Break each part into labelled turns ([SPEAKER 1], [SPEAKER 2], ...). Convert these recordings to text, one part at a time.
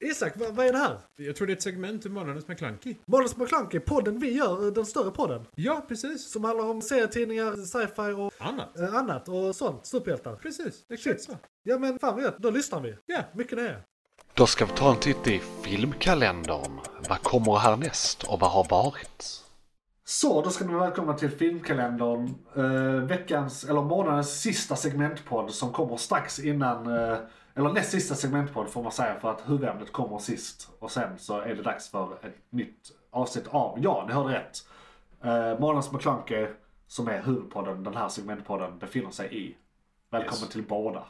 [SPEAKER 1] Isak, vad, vad är det här?
[SPEAKER 2] Jag tror det är ett segment ur Månadens McKlunky.
[SPEAKER 1] Månadens McKlunky, podden vi gör, eh, den större podden.
[SPEAKER 2] Ja, precis.
[SPEAKER 1] Som handlar om serietidningar, sci-fi och
[SPEAKER 2] Annat.
[SPEAKER 1] eh, annat och sånt. Superhjältar.
[SPEAKER 2] Precis, exakt så.
[SPEAKER 1] Ja men fan vad gött, då lyssnar vi.
[SPEAKER 2] Ja.
[SPEAKER 1] Mycket nöje.
[SPEAKER 3] Då ska vi ta en titt i filmkalendern. Vad kommer härnäst och vad har varit?
[SPEAKER 1] Så, då ska ni vara välkomna till filmkalendern. Eh, veckans, eller månadens eh, sista segmentpodd som kommer strax innan, eh, eller näst sista segmentpodd får man säga för att huvudämnet kommer sist. Och sen så är det dags för ett nytt avsnitt av, ja ni hörde rätt, eh, månadens McKlunky som är huvudpodden, den här segmentpodden befinner sig i. Välkommen till båda.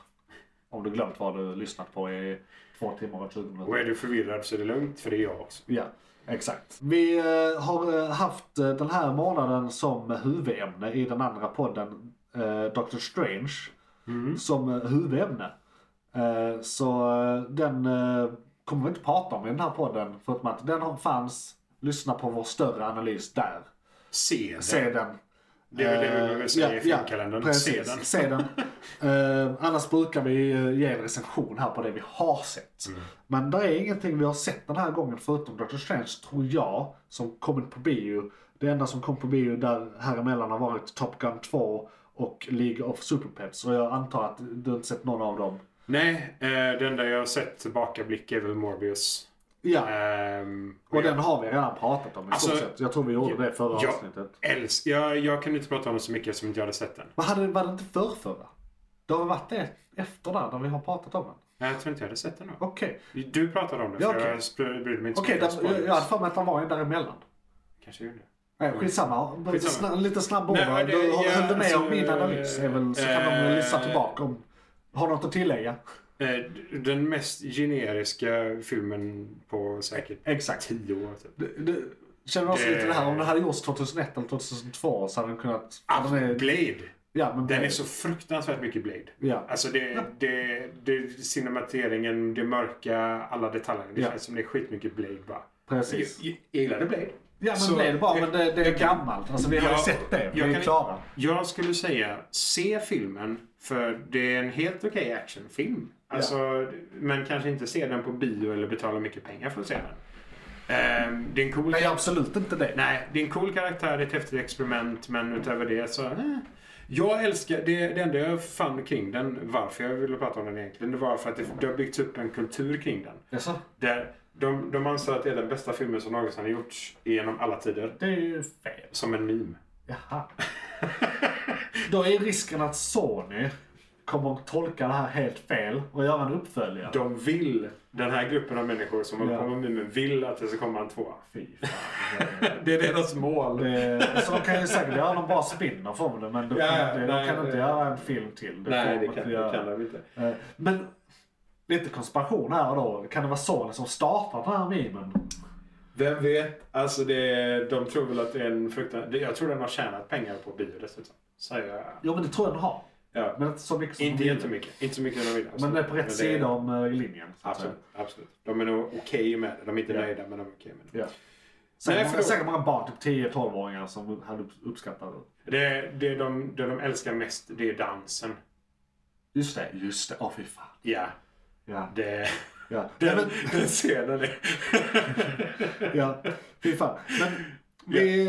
[SPEAKER 1] Om du glömt vad du lyssnat på i två timmar och 20 minuter.
[SPEAKER 4] Och är du förvirrad så är det lugnt, för det är jag också.
[SPEAKER 1] Ja, exakt. Vi eh, har eh, haft eh, den här månaden som huvudämne i den andra podden, eh, Doctor Strange, som eh, huvudämne. Eh, så eh, den eh, kommer vi inte prata om i den här podden, förutom att den har- fanns, lyssna på vår större analys där.
[SPEAKER 4] Se den.
[SPEAKER 1] Se den. Eh,
[SPEAKER 4] Det är väl det vi brukar säga i filmkalendern. Se
[SPEAKER 1] precis.
[SPEAKER 4] den.
[SPEAKER 1] Se den. Eh, annars brukar vi eh, ge en recension här på det vi har sett.
[SPEAKER 4] Mm.
[SPEAKER 1] Men det är ingenting vi har sett den här gången förutom Doctor Strange, tror jag, som kommit på bio. Det enda som kom på bio där häremellan har varit Top Gun 2 och League of Superpets. Och jag antar att du inte sett någon av dem.
[SPEAKER 4] Nej, eh, det enda jag har sett tillbakablick är väl Morbius.
[SPEAKER 1] Ja,
[SPEAKER 4] Ehm,
[SPEAKER 1] och
[SPEAKER 4] jag-
[SPEAKER 1] den har vi redan pratat om i
[SPEAKER 4] Alltså,
[SPEAKER 1] stort sett. Jag tror vi gjorde det förra
[SPEAKER 4] jag,
[SPEAKER 1] avsnittet.
[SPEAKER 4] Älsk, jag, jag kan inte prata om den så mycket eftersom inte jag hade sett den.
[SPEAKER 1] Vad hade, var det inte förrförra? Det har varit det efter där, när vi har pratat om den.
[SPEAKER 4] Nej, jag tror inte jag hade sett den då.
[SPEAKER 1] Okej.
[SPEAKER 4] Du pratade om den,
[SPEAKER 1] Ja,
[SPEAKER 4] för
[SPEAKER 1] okej.
[SPEAKER 4] jag spr- brydde mig inte
[SPEAKER 1] Okej,
[SPEAKER 4] mycket om
[SPEAKER 1] där- jag-
[SPEAKER 4] spoilers.
[SPEAKER 1] jag hade för mig att han var en däremellan.
[SPEAKER 4] Kanske gjorde det.
[SPEAKER 1] Nej, skitsamma. Bara
[SPEAKER 4] Skitsamma.
[SPEAKER 1] Sna, lite snabb ord.
[SPEAKER 4] Nej,
[SPEAKER 1] va?
[SPEAKER 4] det-
[SPEAKER 1] Du har-
[SPEAKER 4] ja,
[SPEAKER 1] höll du med om
[SPEAKER 4] alltså,
[SPEAKER 1] min analys? Är väl, så kan de
[SPEAKER 4] eh,
[SPEAKER 1] väl lyssna tillbaka om... Har något att tillägga?
[SPEAKER 4] Eh, d- Den mest generiska filmen på säkert
[SPEAKER 1] Exakt.
[SPEAKER 4] tio år. Typ.
[SPEAKER 1] Du, du, känner också
[SPEAKER 4] Det-
[SPEAKER 1] lite det här, om det hade gjorts 2001 eller 2002 så hade den kunnat...
[SPEAKER 4] Ah,
[SPEAKER 1] den är,
[SPEAKER 4] Blade!
[SPEAKER 1] ja, men
[SPEAKER 4] Den är så fruktansvärt mycket Blade.
[SPEAKER 1] Ja.
[SPEAKER 4] Alltså det, det, det, cinemateringen, det mörka, alla detaljer. Det
[SPEAKER 1] Ja.
[SPEAKER 4] känns som det är skitmycket Blade bara.
[SPEAKER 1] Precis.
[SPEAKER 4] Jag, jag gillade Blade.
[SPEAKER 1] Ja, men
[SPEAKER 4] Så-
[SPEAKER 1] det är det bara. Men det, det är
[SPEAKER 4] jag kan-
[SPEAKER 1] gammalt. Alltså vi har ju
[SPEAKER 4] jag-
[SPEAKER 1] sett det. Vi
[SPEAKER 4] jag
[SPEAKER 1] är
[SPEAKER 4] kan-
[SPEAKER 1] klara.
[SPEAKER 4] Jag skulle säga, se filmen. För det är en helt okej actionfilm. Alltså, Men kanske inte se den på bio eller betala mycket pengar för att se den. Ehm, det är en cool
[SPEAKER 1] Nej, absolut inte det.
[SPEAKER 4] Nej, det är en cool karaktär, det är ett häftigt experiment, men utöver det så... Eh. Jag älskar, det, det enda jag fann kring den, varför jag ville prata om den egentligen, det var för att det, det har byggts upp en kultur kring den.
[SPEAKER 1] Jaså?
[SPEAKER 4] Där de, de anser att det är den bästa filmen som någonsin har gjorts genom alla tider.
[SPEAKER 1] Det är ju fel.
[SPEAKER 4] Som en meme.
[SPEAKER 1] Jaha. Då är risken att Sony kommer att tolka det här helt fel och göra en uppföljare.
[SPEAKER 4] De vill, den här gruppen av människor som håller
[SPEAKER 1] Ja.
[SPEAKER 4] på med memen, vill att det ska komma en tvåa.
[SPEAKER 1] Fy fan.
[SPEAKER 4] Det är deras mål.
[SPEAKER 1] Det- Så de kan ju säkert göra någon bra spin-off om det men de kan,
[SPEAKER 4] Ja,
[SPEAKER 1] inte,
[SPEAKER 4] nej,
[SPEAKER 1] de kan inte
[SPEAKER 4] det-
[SPEAKER 1] göra en film till. Det får
[SPEAKER 4] Nej, det
[SPEAKER 1] man
[SPEAKER 4] kan,
[SPEAKER 1] inte
[SPEAKER 4] det
[SPEAKER 1] göra.
[SPEAKER 4] kan de inte.
[SPEAKER 1] Eh, Men lite konspiration här då. Kan det vara Sony som startar den här memen?
[SPEAKER 4] Vem vet? Alltså det, de tror väl att det är en fruktansvärd... Jag tror den har tjänat pengar på bio dessutom. Så jag,
[SPEAKER 1] Jo men det tror jag den har.
[SPEAKER 4] ja.
[SPEAKER 1] Men inte så mycket som
[SPEAKER 4] Inte
[SPEAKER 1] de vill.
[SPEAKER 4] jättemycket. Inte så mycket de vill.
[SPEAKER 1] Men det är på rätt
[SPEAKER 4] det-
[SPEAKER 1] sida om eh, linjen. så att säga.
[SPEAKER 4] Absolut, absolut. De är nog okej med det. De är inte
[SPEAKER 1] Ja.
[SPEAKER 4] nöjda men de är okej med det.
[SPEAKER 1] Ja. Säkert,
[SPEAKER 4] Nej,
[SPEAKER 1] många,
[SPEAKER 4] för då-
[SPEAKER 1] säkert många barn, typ 10-12-åringar som hade upp- uppskattat det.
[SPEAKER 4] Det, det, de, det de älskar mest det är dansen.
[SPEAKER 1] Just det, just det. Åh fy fan.
[SPEAKER 4] Ja.
[SPEAKER 1] Ja,
[SPEAKER 4] Det,
[SPEAKER 1] ja.
[SPEAKER 4] den,
[SPEAKER 1] Nej,
[SPEAKER 4] den scenen är...
[SPEAKER 1] men, ja. Fy fan. Men vi,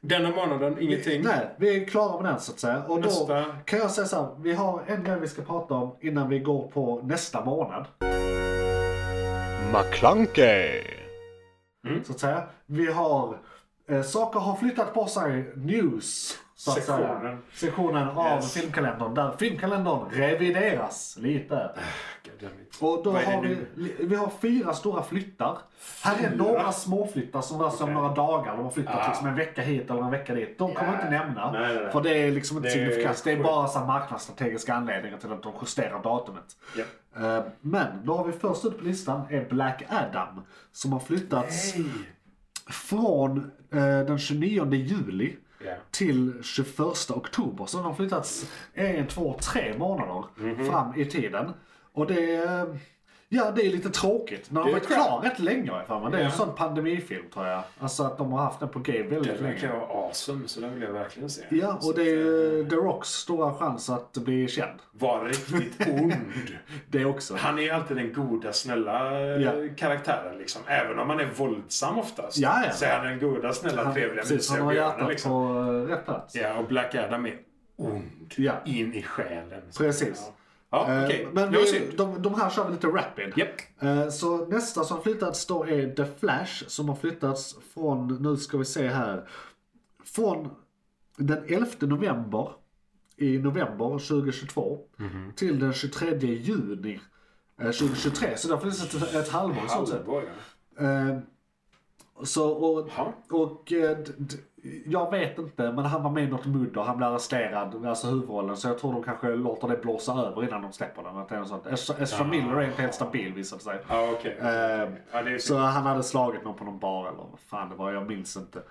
[SPEAKER 4] Denna månaden,
[SPEAKER 1] vi,
[SPEAKER 4] ingenting.
[SPEAKER 1] nej, vi är klara med den så att säga. Och då
[SPEAKER 4] Nästa.
[SPEAKER 1] kan jag säga så här, vi har en grej vi ska prata om innan vi går på nästa månad.
[SPEAKER 3] McClunkey!
[SPEAKER 1] Mm.
[SPEAKER 4] Mm.
[SPEAKER 1] Så att säga. Vi har, eh, saker har flyttat på sig, news. Så att Säga.
[SPEAKER 4] Sektionen.
[SPEAKER 1] Sektionen av
[SPEAKER 4] Yes.
[SPEAKER 1] filmkalendern, där filmkalendern revideras lite.
[SPEAKER 4] Goddammit.
[SPEAKER 1] Och då
[SPEAKER 4] Vad är det
[SPEAKER 1] har vi, vi har fyra stora flyttar. Här är några småflyttar som rör sig om
[SPEAKER 4] Okej.
[SPEAKER 1] några dagar. De har flyttat
[SPEAKER 4] Ah.
[SPEAKER 1] liksom en vecka hit eller en vecka dit. De kommer
[SPEAKER 4] Ja.
[SPEAKER 1] inte nämna.
[SPEAKER 4] Nej, nej, nej.
[SPEAKER 1] För det är liksom inte
[SPEAKER 4] Det är
[SPEAKER 1] signifikant. Det är
[SPEAKER 4] sjukt.
[SPEAKER 1] bara så här marknadsstrategiska anledningar till att de justerar datumet.
[SPEAKER 4] Ja.
[SPEAKER 1] Eh, Men då har vi först ut på listan är Black Adam. Som har flyttats
[SPEAKER 4] Hej!
[SPEAKER 1] från eh, den 29 juli
[SPEAKER 4] Ja.
[SPEAKER 1] till 21 oktober. Så den har
[SPEAKER 4] Mhm.
[SPEAKER 1] flyttats en, två, tre månader fram i tiden. Och det... eh, Ja, det är lite tråkigt. Men de
[SPEAKER 4] Det
[SPEAKER 1] har
[SPEAKER 4] är
[SPEAKER 1] varit
[SPEAKER 4] crap.
[SPEAKER 1] klar rätt länge har jag för mig. Det är en
[SPEAKER 4] Ja.
[SPEAKER 1] sån pandemifilm tror jag. Alltså att de har haft den på G väldigt
[SPEAKER 4] Det
[SPEAKER 1] länge.
[SPEAKER 4] verkar vara awesome, så den vill jag verkligen se.
[SPEAKER 1] Ja,
[SPEAKER 4] Så
[SPEAKER 1] och det är ju
[SPEAKER 4] att, eh,
[SPEAKER 1] The Rocks stora chans att bli känd.
[SPEAKER 4] Var riktigt ond.
[SPEAKER 1] Det också.
[SPEAKER 4] Han är ju alltid den goda, snälla eh,
[SPEAKER 1] Ja.
[SPEAKER 4] karaktären. Liksom. Även om han är våldsam oftast.
[SPEAKER 1] Ja, ja.
[SPEAKER 4] Så är han den goda, snälla,
[SPEAKER 1] Han,
[SPEAKER 4] trevliga,
[SPEAKER 1] precis, han
[SPEAKER 4] mysiga
[SPEAKER 1] har
[SPEAKER 4] björnen.
[SPEAKER 1] hjärtat
[SPEAKER 4] Liksom.
[SPEAKER 1] på eh, rätt plats.
[SPEAKER 4] Ja, och Black Adam är ond.
[SPEAKER 1] Ja.
[SPEAKER 4] In i själen.
[SPEAKER 1] Precis.
[SPEAKER 4] Ja,
[SPEAKER 1] Eh,
[SPEAKER 4] ja okej.
[SPEAKER 1] Men
[SPEAKER 4] Det var
[SPEAKER 1] vi,
[SPEAKER 4] synd.
[SPEAKER 1] de, de här kör vi lite rapid.
[SPEAKER 4] Japp.
[SPEAKER 1] Eh, Så nästa som flyttats då är The Flash som har flyttats från, nu ska vi se här, från den 11 november i november 2022
[SPEAKER 4] Mhm.
[SPEAKER 1] till den 23 juni eh, 2023. Så det har funnits ett, ett halvår i stort sett.
[SPEAKER 4] Halvor, ja.
[SPEAKER 1] Eh, Så, och,
[SPEAKER 4] Jaha.
[SPEAKER 1] och eh, d- d- jag vet inte, men han var med i något mudder, han blev arresterad, alltså huvudrollen. Så jag tror de kanske låter det blåsa över innan de släpper den. att det är något sånt. Eftersom eftersom Miller är inte helt stabil visade det sig.
[SPEAKER 4] Ja, okej.
[SPEAKER 1] Eh,
[SPEAKER 4] Ja, det är
[SPEAKER 1] Så
[SPEAKER 4] synd.
[SPEAKER 1] han hade slagit någon på någon bar eller vad fan det var, jag minns inte.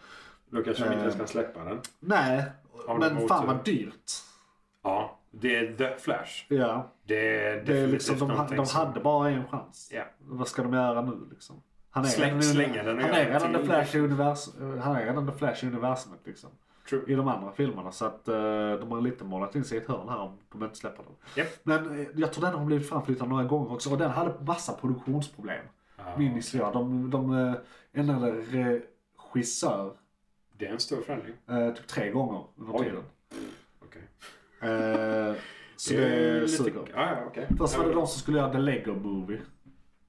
[SPEAKER 4] Då kanske de inte
[SPEAKER 1] eh,
[SPEAKER 4] ens kan släppa den.
[SPEAKER 1] Nej,
[SPEAKER 4] Har de
[SPEAKER 1] men
[SPEAKER 4] otur?
[SPEAKER 1] fan vad dyrt.
[SPEAKER 4] Ja, det är The Flash.
[SPEAKER 1] Ja,
[SPEAKER 4] Det är definitivt
[SPEAKER 1] det är liksom, de, ha-
[SPEAKER 4] någonting
[SPEAKER 1] de
[SPEAKER 4] som-
[SPEAKER 1] hade bara en chans.
[SPEAKER 4] Ja.
[SPEAKER 1] Vad ska de göra nu liksom? Han är
[SPEAKER 4] Släng-
[SPEAKER 1] redan,
[SPEAKER 4] slänga den och
[SPEAKER 1] han
[SPEAKER 4] göra
[SPEAKER 1] är redan
[SPEAKER 4] någonting.
[SPEAKER 1] the flash i univers, han är redan the flash i universumet liksom.
[SPEAKER 4] True.
[SPEAKER 1] I de andra filmerna så att eh, de har lite målat in sig i ett hörn här om de inte släpper den.
[SPEAKER 4] Japp.
[SPEAKER 1] Men eh, jag tror den har blivit framflyttad några gånger också och den hade massa produktionsproblem.
[SPEAKER 4] Ja,
[SPEAKER 1] Minns jag. De, de eh, ändrade regissör
[SPEAKER 4] Det är en stor förändring.
[SPEAKER 1] eh, typ tre gånger under
[SPEAKER 4] Oj.
[SPEAKER 1] tiden.
[SPEAKER 4] Okej.
[SPEAKER 1] Eh, så
[SPEAKER 4] Det är
[SPEAKER 1] det
[SPEAKER 4] lite-
[SPEAKER 1] suger.
[SPEAKER 4] Ja, ja, okej.
[SPEAKER 1] Först var
[SPEAKER 4] Ja,
[SPEAKER 1] det de som skulle göra The Lego Movie.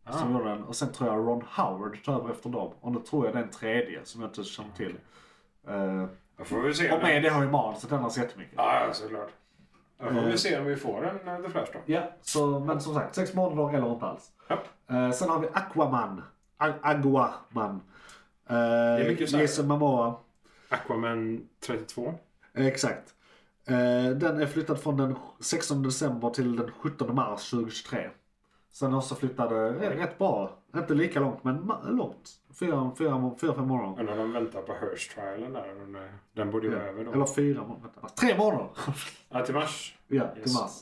[SPEAKER 4] Ah.
[SPEAKER 1] Som gjorde den. Och sen tror jag Ron Howard tar över efter dem. Och nu tror jag det är en tredje som jag inte känner till. Eh,
[SPEAKER 4] Då får vi se.
[SPEAKER 1] och med det har ju manuset ändrats jättemycket.
[SPEAKER 4] Ja, ja, såklart. Då får vi se om vi får en eh, The Flash då.
[SPEAKER 1] Ja, så, men som sagt, sex månader eller inte alls.
[SPEAKER 4] Japp.
[SPEAKER 1] Eh, sen har vi Aquaman. A- Aguaman. Uh,
[SPEAKER 4] mycket så här.
[SPEAKER 1] Jason Momoa.
[SPEAKER 4] Aquaman 32.
[SPEAKER 1] Eh, Exakt. Eh, Den är flyttad från den 16 december till den 17 mars 2023. Sen också flyttade eh, rätt bra. Inte lika långt, men ma- långt. Fyra, fyra, fyra fem månader.
[SPEAKER 4] Undrar om de väntar på Hirsch-trialen där. Den, eh, den borde ju vara över då.
[SPEAKER 1] Eller fyra månader. vänta. alltså, Tre månader!
[SPEAKER 4] Ja, till mars.
[SPEAKER 1] ja, till
[SPEAKER 4] Yes.
[SPEAKER 1] mars.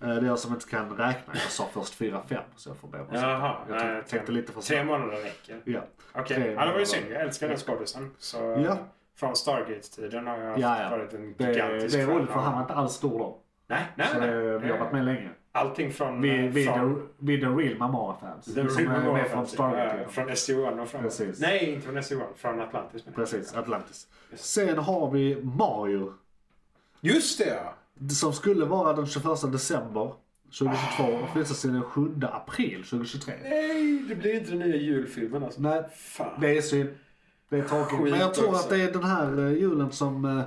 [SPEAKER 1] Eh, Det är jag som inte kan räkna. Jag sa först fyra, fem. Så jag får be om ursäkt.
[SPEAKER 4] Jaha.
[SPEAKER 1] Jag
[SPEAKER 4] nej,
[SPEAKER 1] tänkte
[SPEAKER 4] tre-
[SPEAKER 1] lite för
[SPEAKER 4] Tre
[SPEAKER 1] snabbt.
[SPEAKER 4] månader räcker.
[SPEAKER 1] Ja.
[SPEAKER 4] Okej.
[SPEAKER 1] Tre
[SPEAKER 4] Ja, det var ju
[SPEAKER 1] månader.
[SPEAKER 4] synd. Jag älskar den skådisen. Så
[SPEAKER 1] Ja.
[SPEAKER 4] från Stargate-tiden har jag
[SPEAKER 1] Ja, ja.
[SPEAKER 4] varit en
[SPEAKER 1] Det,
[SPEAKER 4] gigantisk
[SPEAKER 1] det är roligt
[SPEAKER 4] fan
[SPEAKER 1] för
[SPEAKER 4] av-
[SPEAKER 1] han var inte alls stor då.
[SPEAKER 4] Nej, nej,
[SPEAKER 1] Så
[SPEAKER 4] nej.
[SPEAKER 1] eh, vi har varit med länge.
[SPEAKER 4] Allting från... eh,
[SPEAKER 1] Vi, vi, är
[SPEAKER 4] från
[SPEAKER 1] the, vi är the real Mamara-fans.
[SPEAKER 4] Den
[SPEAKER 1] Som är med från
[SPEAKER 4] Stargate.
[SPEAKER 1] Stargate. liksom.
[SPEAKER 4] eh, Från SG1 och framåt.
[SPEAKER 1] Precis.
[SPEAKER 4] Nej, inte från SG1. Från Atlantis. menar jag.
[SPEAKER 1] Precis, Atlantis. Sen har vi Mario.
[SPEAKER 4] Just det ja!
[SPEAKER 1] Som skulle vara den 21 december 2022 och flyttas till den 7 april 2023.
[SPEAKER 4] Nej, det blir inte den nya julfilmen alltså.
[SPEAKER 1] Nej,
[SPEAKER 4] Fan.
[SPEAKER 1] det är synd. Det är tråkigt.
[SPEAKER 4] Skit
[SPEAKER 1] Men jag tror
[SPEAKER 4] också.
[SPEAKER 1] att det är den här eh, julen som... eh,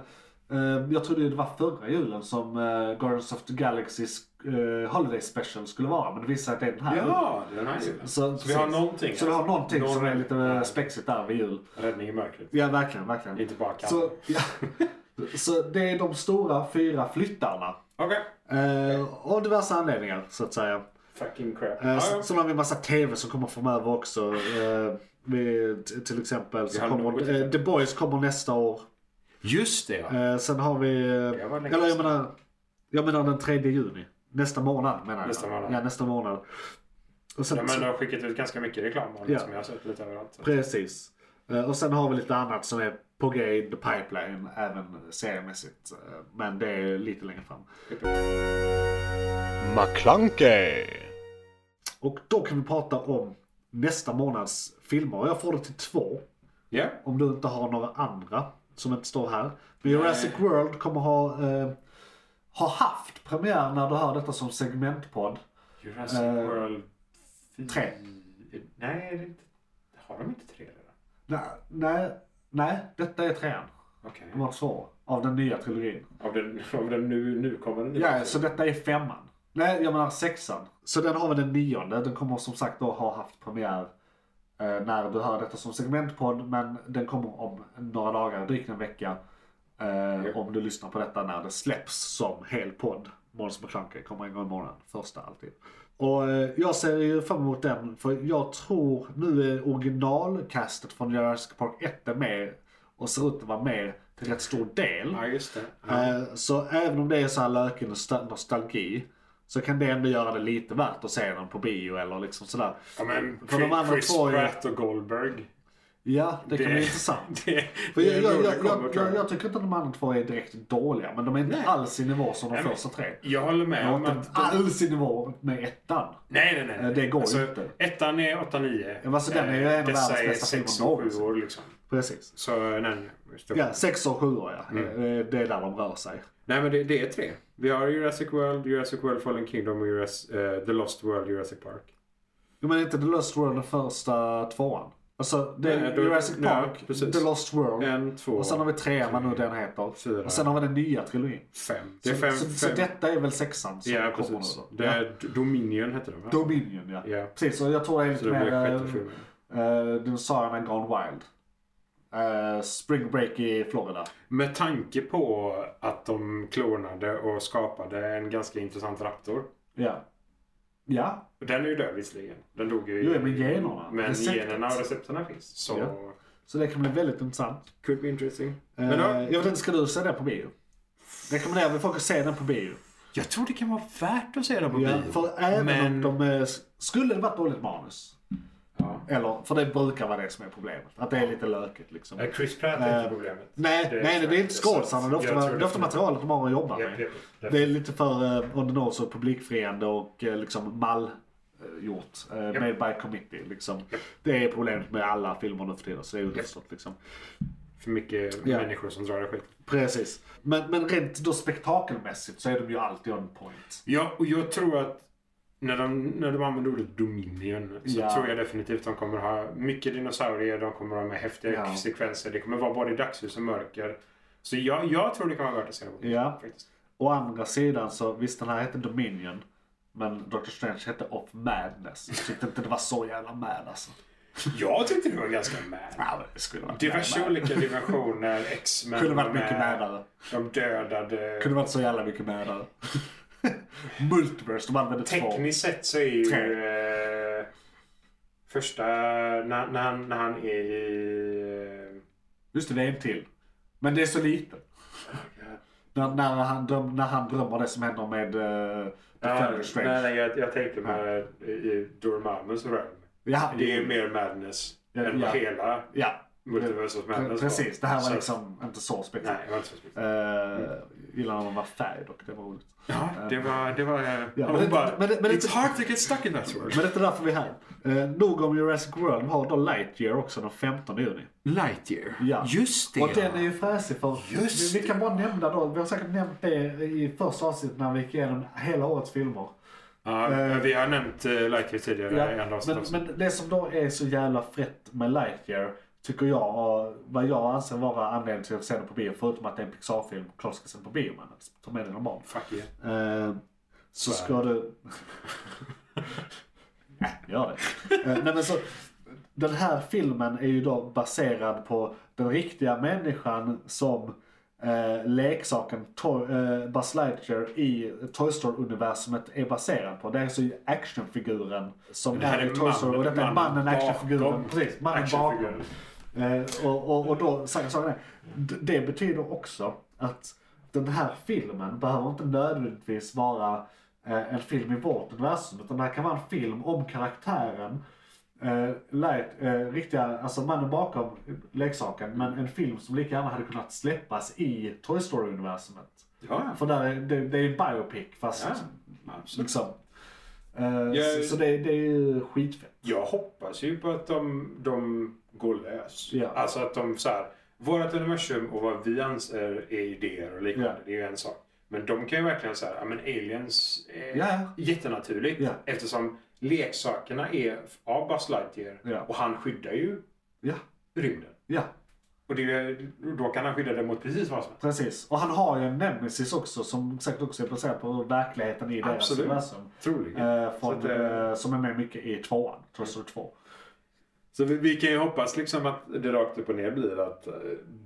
[SPEAKER 1] eh, Jag trodde ju det var förra julen som eh, Guardians of the Galaxys eh, Holiday Special skulle vara. Men det visar sig att det är den här julen.
[SPEAKER 4] Ja, det är den här julen.
[SPEAKER 1] Så,
[SPEAKER 4] Så vi har någonting.
[SPEAKER 1] Så vi har någonting
[SPEAKER 4] Någon-
[SPEAKER 1] som är lite eh, spexigt där vid jul.
[SPEAKER 4] Räddning i mörkret.
[SPEAKER 1] Ja, verkligen, verkligen.
[SPEAKER 4] Inte bara kan.
[SPEAKER 1] Så, ja. så det är de stora fyra flyttarna.
[SPEAKER 4] Okej.
[SPEAKER 1] Eh, av diverse anledningar så att säga.
[SPEAKER 4] Fucking crap.
[SPEAKER 1] Eh,
[SPEAKER 4] Ja,
[SPEAKER 1] sen,
[SPEAKER 4] ja.
[SPEAKER 1] sen har vi en massa tv som kommer framöver också. Eh, vi, t- till exempel så
[SPEAKER 4] Vi har något.
[SPEAKER 1] kommer, eh, The Boys kommer nästa år.
[SPEAKER 4] Just det ja.
[SPEAKER 1] Eh, sen har vi...
[SPEAKER 4] Det var
[SPEAKER 1] Eh,
[SPEAKER 4] länge
[SPEAKER 1] eller jag
[SPEAKER 4] sedan.
[SPEAKER 1] menar, jag menar den 3 juni. Nästa månad menar jag.
[SPEAKER 4] Nästa månad.
[SPEAKER 1] Ja, nästa månad. Och sen,
[SPEAKER 4] Ja, men de har skickat ut ganska mycket reklam om det
[SPEAKER 1] Ja.
[SPEAKER 4] som jag har sett lite överallt.
[SPEAKER 1] Precis. Eh, och sen har vi lite annat som är på G in the pipeline även seriemässigt. Eh, men det är lite längre fram.
[SPEAKER 3] McClunkey!
[SPEAKER 1] Och då kan vi prata om nästa månads filmer. Och Jag får det till två.
[SPEAKER 4] Ja.
[SPEAKER 1] Om du inte har några andra som inte står här. Men Jurassic World kommer ha, eh, ha haft premiär när du hör detta som segmentpodd.
[SPEAKER 4] Jurassic
[SPEAKER 1] Eh,
[SPEAKER 4] World 4.
[SPEAKER 1] tre.
[SPEAKER 4] Nej, det är inte... har de inte tre redan?
[SPEAKER 1] Nej, nej, nej, detta är trean.
[SPEAKER 4] Okej.
[SPEAKER 1] Det var två av den nya trilogin.
[SPEAKER 4] Av, den, av den nu, nu kommande nya
[SPEAKER 1] Ja, så detta är femman. Nej, jag menar sexan. Så den har vi den nionde. Den kommer som sagt då ha haft premiär eh, när du hör detta som segmentpodd. Men den kommer om några dagar, drygt en vecka. Eh, om du lyssnar på detta när det släpps som hel podd. Måns McClunky kommer en gång i månaden. Första alltid. Och eh, jag ser ju fram emot den. För jag tror nu är originalkastet från Jurassic Park 1 är med. Och ser ut att vara med till rätt stor del.
[SPEAKER 4] Ja, just det. Ja.
[SPEAKER 1] Eh, Så även om det är så här löken och nostalgi Så kan det ändå göra det lite värt att se den på bio eller liksom sådär.
[SPEAKER 4] Ja, men
[SPEAKER 1] För de andra
[SPEAKER 4] Chris
[SPEAKER 1] två är-
[SPEAKER 4] Pratt och Goldberg.
[SPEAKER 1] Ja, det kan
[SPEAKER 4] Det-
[SPEAKER 1] bli intressant.
[SPEAKER 4] Det,
[SPEAKER 1] För
[SPEAKER 4] det
[SPEAKER 1] jag,
[SPEAKER 4] är
[SPEAKER 1] jag,
[SPEAKER 4] då det
[SPEAKER 1] jag,
[SPEAKER 4] kommer,
[SPEAKER 1] jag,
[SPEAKER 4] tror
[SPEAKER 1] jag,
[SPEAKER 4] jag.
[SPEAKER 1] jag tycker inte de andra två är direkt dåliga, men de är inte alls i nivå som de
[SPEAKER 4] Nej, men-
[SPEAKER 1] första tre.
[SPEAKER 4] Jag håller
[SPEAKER 1] De
[SPEAKER 4] med om
[SPEAKER 1] är
[SPEAKER 4] att...
[SPEAKER 1] inte alls i nivå med ettan.
[SPEAKER 4] Nej, nej, nej, nej.
[SPEAKER 1] Det går inte.
[SPEAKER 4] Ettan är 8-9.
[SPEAKER 1] Ja, men alltså, den är ju en av världens bästa filmer
[SPEAKER 4] Dessa är 6
[SPEAKER 1] någonsin.
[SPEAKER 4] och 7 år liksom.
[SPEAKER 1] Precis.
[SPEAKER 4] Så nej, nej. just det.
[SPEAKER 1] Ja, sex och sjuor ja.
[SPEAKER 4] Mm.
[SPEAKER 1] Eh, Det är där de rör sig.
[SPEAKER 4] Nej, men det, det är tre. Vi har Jurassic World, Jurassic World Fallen Kingdom och Juras- eh, The Lost World Jurassic Park.
[SPEAKER 1] Jo men inte The Lost World den första tvåan? Alltså det är
[SPEAKER 4] Nej, då-
[SPEAKER 1] Jurassic
[SPEAKER 4] nej,
[SPEAKER 1] Park,
[SPEAKER 4] precis.
[SPEAKER 1] The Lost World.
[SPEAKER 4] En, två,
[SPEAKER 1] och sen har vi trean, vad nu den heter.
[SPEAKER 4] Fyra.
[SPEAKER 1] Och sen har vi den nya trilogin.
[SPEAKER 4] fem. Det är fem.
[SPEAKER 1] så,
[SPEAKER 4] fem.
[SPEAKER 1] så, så detta är väl sexan som
[SPEAKER 4] ja,
[SPEAKER 1] kommer
[SPEAKER 4] precis.
[SPEAKER 1] nu då?
[SPEAKER 4] Det är D- Dominion heter den va?
[SPEAKER 1] Ja. Dominion ja.
[SPEAKER 4] Ja.
[SPEAKER 1] Precis, och jag tror det är
[SPEAKER 4] så
[SPEAKER 1] lite
[SPEAKER 4] det blir
[SPEAKER 1] mer eh,
[SPEAKER 4] sjätte filmen.
[SPEAKER 1] uh, dinosaurierna Gone Wild. Eh, spring Break i Florida.
[SPEAKER 4] Med tanke på att de klonade och skapade en ganska intressant raptor.
[SPEAKER 1] Ja. Ja,
[SPEAKER 4] Den är ju död visserligen. Den dog ju i-
[SPEAKER 1] jo men generna.
[SPEAKER 4] Men
[SPEAKER 1] Receptet.
[SPEAKER 4] generna och recepterna finns. Så...
[SPEAKER 1] Ja. Så det kan bli väldigt intressant.
[SPEAKER 4] Could be interesting.
[SPEAKER 1] Eh,
[SPEAKER 4] Men då,
[SPEAKER 1] jag vet inte, ska du se den på bio? Rekommenderar vi folk att se den på bio?
[SPEAKER 4] jag tror det kan vara värt att se den på
[SPEAKER 1] Ja,
[SPEAKER 4] bio.
[SPEAKER 1] för även
[SPEAKER 4] Men-
[SPEAKER 1] om de eh, skulle det varit dåligt manus.
[SPEAKER 4] Ja.
[SPEAKER 1] Eller, för det brukar vara det som är problemet. Att det är lite lökigt liksom.
[SPEAKER 4] Eh, Chris Pratt är inte problemet.
[SPEAKER 1] Nej,
[SPEAKER 4] Det är
[SPEAKER 1] nej, nej, det är inte
[SPEAKER 4] faktiskt-
[SPEAKER 1] skådisarna. Det är
[SPEAKER 4] jag
[SPEAKER 1] ofta,
[SPEAKER 4] tror
[SPEAKER 1] det är ofta materialet de har att jobba
[SPEAKER 4] Japp,
[SPEAKER 1] med.
[SPEAKER 4] japp, japp.
[SPEAKER 1] Det är lite för eh, on the nose och publikfriande och eh, liksom mall eh, gjort. Eh, Made by committee liksom. Det är problemet med alla filmer nu för tiden. Så det är underförstått liksom.
[SPEAKER 4] För mycket
[SPEAKER 1] Ja.
[SPEAKER 4] människor som drar i skit.
[SPEAKER 1] Precis. Men, men rent då spektakelmässigt så är de ju alltid on point.
[SPEAKER 4] Ja, och jag tror att när de, när de använder ordet Dominion så
[SPEAKER 1] Ja.
[SPEAKER 4] tror jag definitivt de kommer ha mycket dinosaurier, de kommer ha med häftiga
[SPEAKER 1] Ja.
[SPEAKER 4] sekvenser, det kommer vara både dagsljus och mörker. Så jag, jag tror det kan vara värt att se det på.
[SPEAKER 1] Ja.
[SPEAKER 4] Faktiskt.
[SPEAKER 1] Å andra sidan så, visst den här hette Dominion. Men Doctor Strange hette Of Madness. Jag tyckte inte det var så jävla mad alltså.
[SPEAKER 4] Jag tyckte det var ganska mad.
[SPEAKER 1] Ja, men det skulle varit
[SPEAKER 4] Diverse
[SPEAKER 1] mad.
[SPEAKER 4] olika dimensioner, eh, X-Men
[SPEAKER 1] Kunde varit
[SPEAKER 4] var med,
[SPEAKER 1] mycket madare.
[SPEAKER 4] De dödade...
[SPEAKER 1] Kunde varit så jävla mycket madare. Multiverse, de använde två.
[SPEAKER 4] Tekniskt sett så är ju
[SPEAKER 1] Tre.
[SPEAKER 4] eh, första, när, när, han, när han är i... eh,
[SPEAKER 1] Just det, det är en till. Men det är så lite. När, när, han, dröm, när han drömmer det som händer med uh,
[SPEAKER 4] Ja,
[SPEAKER 1] Defender Strange.
[SPEAKER 4] nej, nej, jag, jag tänkte med i- i Dormammus realm.
[SPEAKER 1] ja,
[SPEAKER 4] Det är mer madness
[SPEAKER 1] Ja,
[SPEAKER 4] än
[SPEAKER 1] ja.
[SPEAKER 4] hela
[SPEAKER 1] ja.
[SPEAKER 4] Multiversus madness. var.
[SPEAKER 1] Precis, det här var
[SPEAKER 4] Så-
[SPEAKER 1] liksom inte så
[SPEAKER 4] Nej,
[SPEAKER 1] speciellt.
[SPEAKER 4] det var inte så speciellt.
[SPEAKER 1] Uh, gillar när man var färg dock, det var roligt.
[SPEAKER 4] Ja, det var... Det var
[SPEAKER 1] men
[SPEAKER 4] ja,
[SPEAKER 1] det-
[SPEAKER 4] men, bara,
[SPEAKER 1] men det- men det-
[SPEAKER 4] it's hard to get stuck in that world.
[SPEAKER 1] Men det är inte därför vi är här. Eh, nog om Jurassic World, vi har då Lightyear också den 15 juni.
[SPEAKER 4] Lightyear.
[SPEAKER 1] Ja.
[SPEAKER 4] Just det.
[SPEAKER 1] Och den är ju fräsig för
[SPEAKER 4] Just
[SPEAKER 1] vi, vi kan bara nämna då, vi har säkert nämnt det i första avsnittet när vi gick igenom hela årets filmer.
[SPEAKER 4] ja,
[SPEAKER 1] Eh,
[SPEAKER 4] vi har nämnt eh, Lightyear tidigare i andra
[SPEAKER 1] men,
[SPEAKER 4] avsnitt.
[SPEAKER 1] men det som då är så jävla frätt med Lightyear tycker jag, och vad jag anser vara anledningen till att se den på bio, förutom att det är en Pixar-film, klart ska se den på bio men ta med dina barn.
[SPEAKER 4] Fuck yeah.
[SPEAKER 1] Eh, så
[SPEAKER 4] Så är
[SPEAKER 1] ska du... Nej, gör det. Eh, nej, men så, den här filmen är ju då baserad på den riktiga människan som eh, leksaken to- eh, Buzz Lightyear i Toy Story-universumet är baserad på. Det är alltså ju actionfiguren som
[SPEAKER 4] Det här
[SPEAKER 1] är
[SPEAKER 4] är
[SPEAKER 1] i Toy Story och detta är
[SPEAKER 4] mannen-
[SPEAKER 1] mannen,
[SPEAKER 4] mannen
[SPEAKER 1] actionfiguren.
[SPEAKER 4] bakom
[SPEAKER 1] Precis, mannen bakom.
[SPEAKER 4] actionfiguren.
[SPEAKER 1] Eh, och, och, och då, saken saken är, d- det betyder också att den här filmen behöver inte nödvändigtvis vara eh, en film i vårt universum. Utan det här kan vara en film om karaktären. Eh, light, eh, riktiga, alltså mannen bakom leksaken. Men en film som lika gärna hade kunnat släppas i Toy Story-universumet.
[SPEAKER 4] Ja,
[SPEAKER 1] För där är, det, det är en biopic fast
[SPEAKER 4] ja, absolut.
[SPEAKER 1] liksom. Eh,
[SPEAKER 4] Jag-
[SPEAKER 1] så, så det, det är ju skitfett.
[SPEAKER 4] Jag hoppas ju på att de, de går lös.
[SPEAKER 1] Ja.
[SPEAKER 4] Alltså att de så här, vårt universum och vad vi anser är idéer och liknande,
[SPEAKER 1] Ja.
[SPEAKER 4] det är ju en sak. Men de kan ju verkligen säga, ja men aliens är
[SPEAKER 1] Ja.
[SPEAKER 4] jättenaturligt
[SPEAKER 1] Ja.
[SPEAKER 4] eftersom leksakerna är av Buzz Lightyear
[SPEAKER 1] Ja.
[SPEAKER 4] och han skyddar ju
[SPEAKER 1] Ja,
[SPEAKER 4] rymden.
[SPEAKER 1] ja.
[SPEAKER 4] Och det, är- då kan han skydda det mot precis vad som helst.
[SPEAKER 1] Precis. Och han har ju en nemesis också som säkert också är baserad på verkligheten i deras
[SPEAKER 4] Absolut.
[SPEAKER 1] universum.
[SPEAKER 4] Troligen.
[SPEAKER 1] Eh,
[SPEAKER 4] Så
[SPEAKER 1] från,
[SPEAKER 4] att, eh,
[SPEAKER 1] eh, som är med mycket i tvåan, Toy Story 2.
[SPEAKER 4] Så vi, vi kan ju hoppas liksom att det rakt upp och ner blir att eh,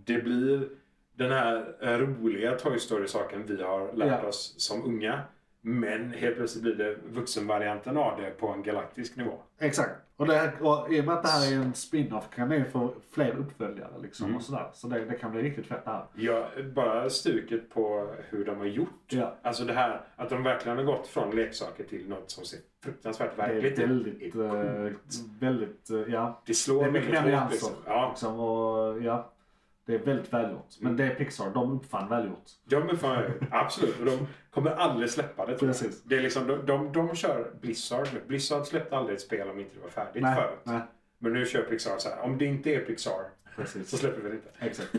[SPEAKER 4] det blir den här eh, roliga Toy Story-saken vi har lärt
[SPEAKER 1] Ja.
[SPEAKER 4] oss som unga Men helt plötsligt blir det vuxenvarianten av det på en galaktisk nivå.
[SPEAKER 1] Exakt. Och, det här, och i och med att det här är en spin-off kan det ju få fler uppföljare liksom
[SPEAKER 4] Mm.
[SPEAKER 1] och sådär. Så det, det kan bli riktigt fett det här.
[SPEAKER 4] Ja, bara stuket på hur de har gjort.
[SPEAKER 1] Ja.
[SPEAKER 4] Alltså det här att de verkligen har gått från leksaker till något som ser fruktansvärt
[SPEAKER 1] Det är
[SPEAKER 4] verkligt ut.
[SPEAKER 1] väldigt,
[SPEAKER 4] Det är
[SPEAKER 1] eh, väldigt, eh, ja.
[SPEAKER 4] Det slår
[SPEAKER 1] Det är mycket mer
[SPEAKER 4] väldigt
[SPEAKER 1] nyanser.
[SPEAKER 4] hårt, liksom. Ja, Mm.
[SPEAKER 1] Liksom, och, ja. Det är väldigt välgjort. Men det är Pixar, de uppfann välgjort.
[SPEAKER 4] de är fan, absolut. Och de kommer aldrig släppa det. tror jag.
[SPEAKER 1] Precis.
[SPEAKER 4] Det är liksom, de, de, de kör Blizzard nu. Blizzard släppte aldrig ett spel om inte det var färdigt
[SPEAKER 1] Nej,
[SPEAKER 4] förut.
[SPEAKER 1] nej,
[SPEAKER 4] Men nu kör Pixar så här. Om det inte är Pixar så
[SPEAKER 1] precis.
[SPEAKER 4] släpper vi det inte.
[SPEAKER 1] Exakt.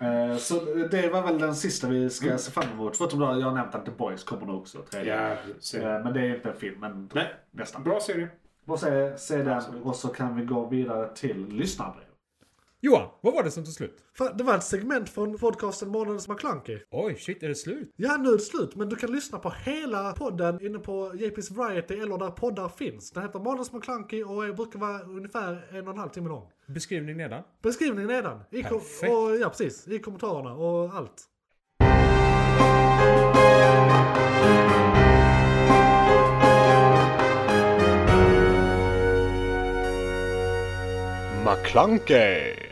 [SPEAKER 1] Eh, Så det var väl den sista vi ska se fram emot. Förutom då jag har nämnt att The Boys kommer nog också. Tredje.
[SPEAKER 4] Ja, så.
[SPEAKER 1] Eh, Men det är inte en film, men
[SPEAKER 4] Nej,
[SPEAKER 1] nästan.
[SPEAKER 4] bra serie.
[SPEAKER 1] Och se, se den
[SPEAKER 4] Absolut.
[SPEAKER 1] och så kan vi gå vidare till lyssnarbrev.
[SPEAKER 2] Johan, vad var det som tog slut?
[SPEAKER 5] Fan, Det var ett segment från podcasten Månadens McKlunky.
[SPEAKER 2] Oj, shit, är det slut?
[SPEAKER 5] Ja, nu är det slut, men du kan lyssna på hela podden inne på JP's Variety eller där poddar finns. Den heter Månadens McKlunky och är- brukar vara ungefär en och en halv timme lång.
[SPEAKER 2] Beskrivning nedan.
[SPEAKER 5] Beskrivningen nedan. I kom-
[SPEAKER 2] Perfekt.
[SPEAKER 5] och, ja, precis. I kommentarerna och allt.
[SPEAKER 3] McClunkey!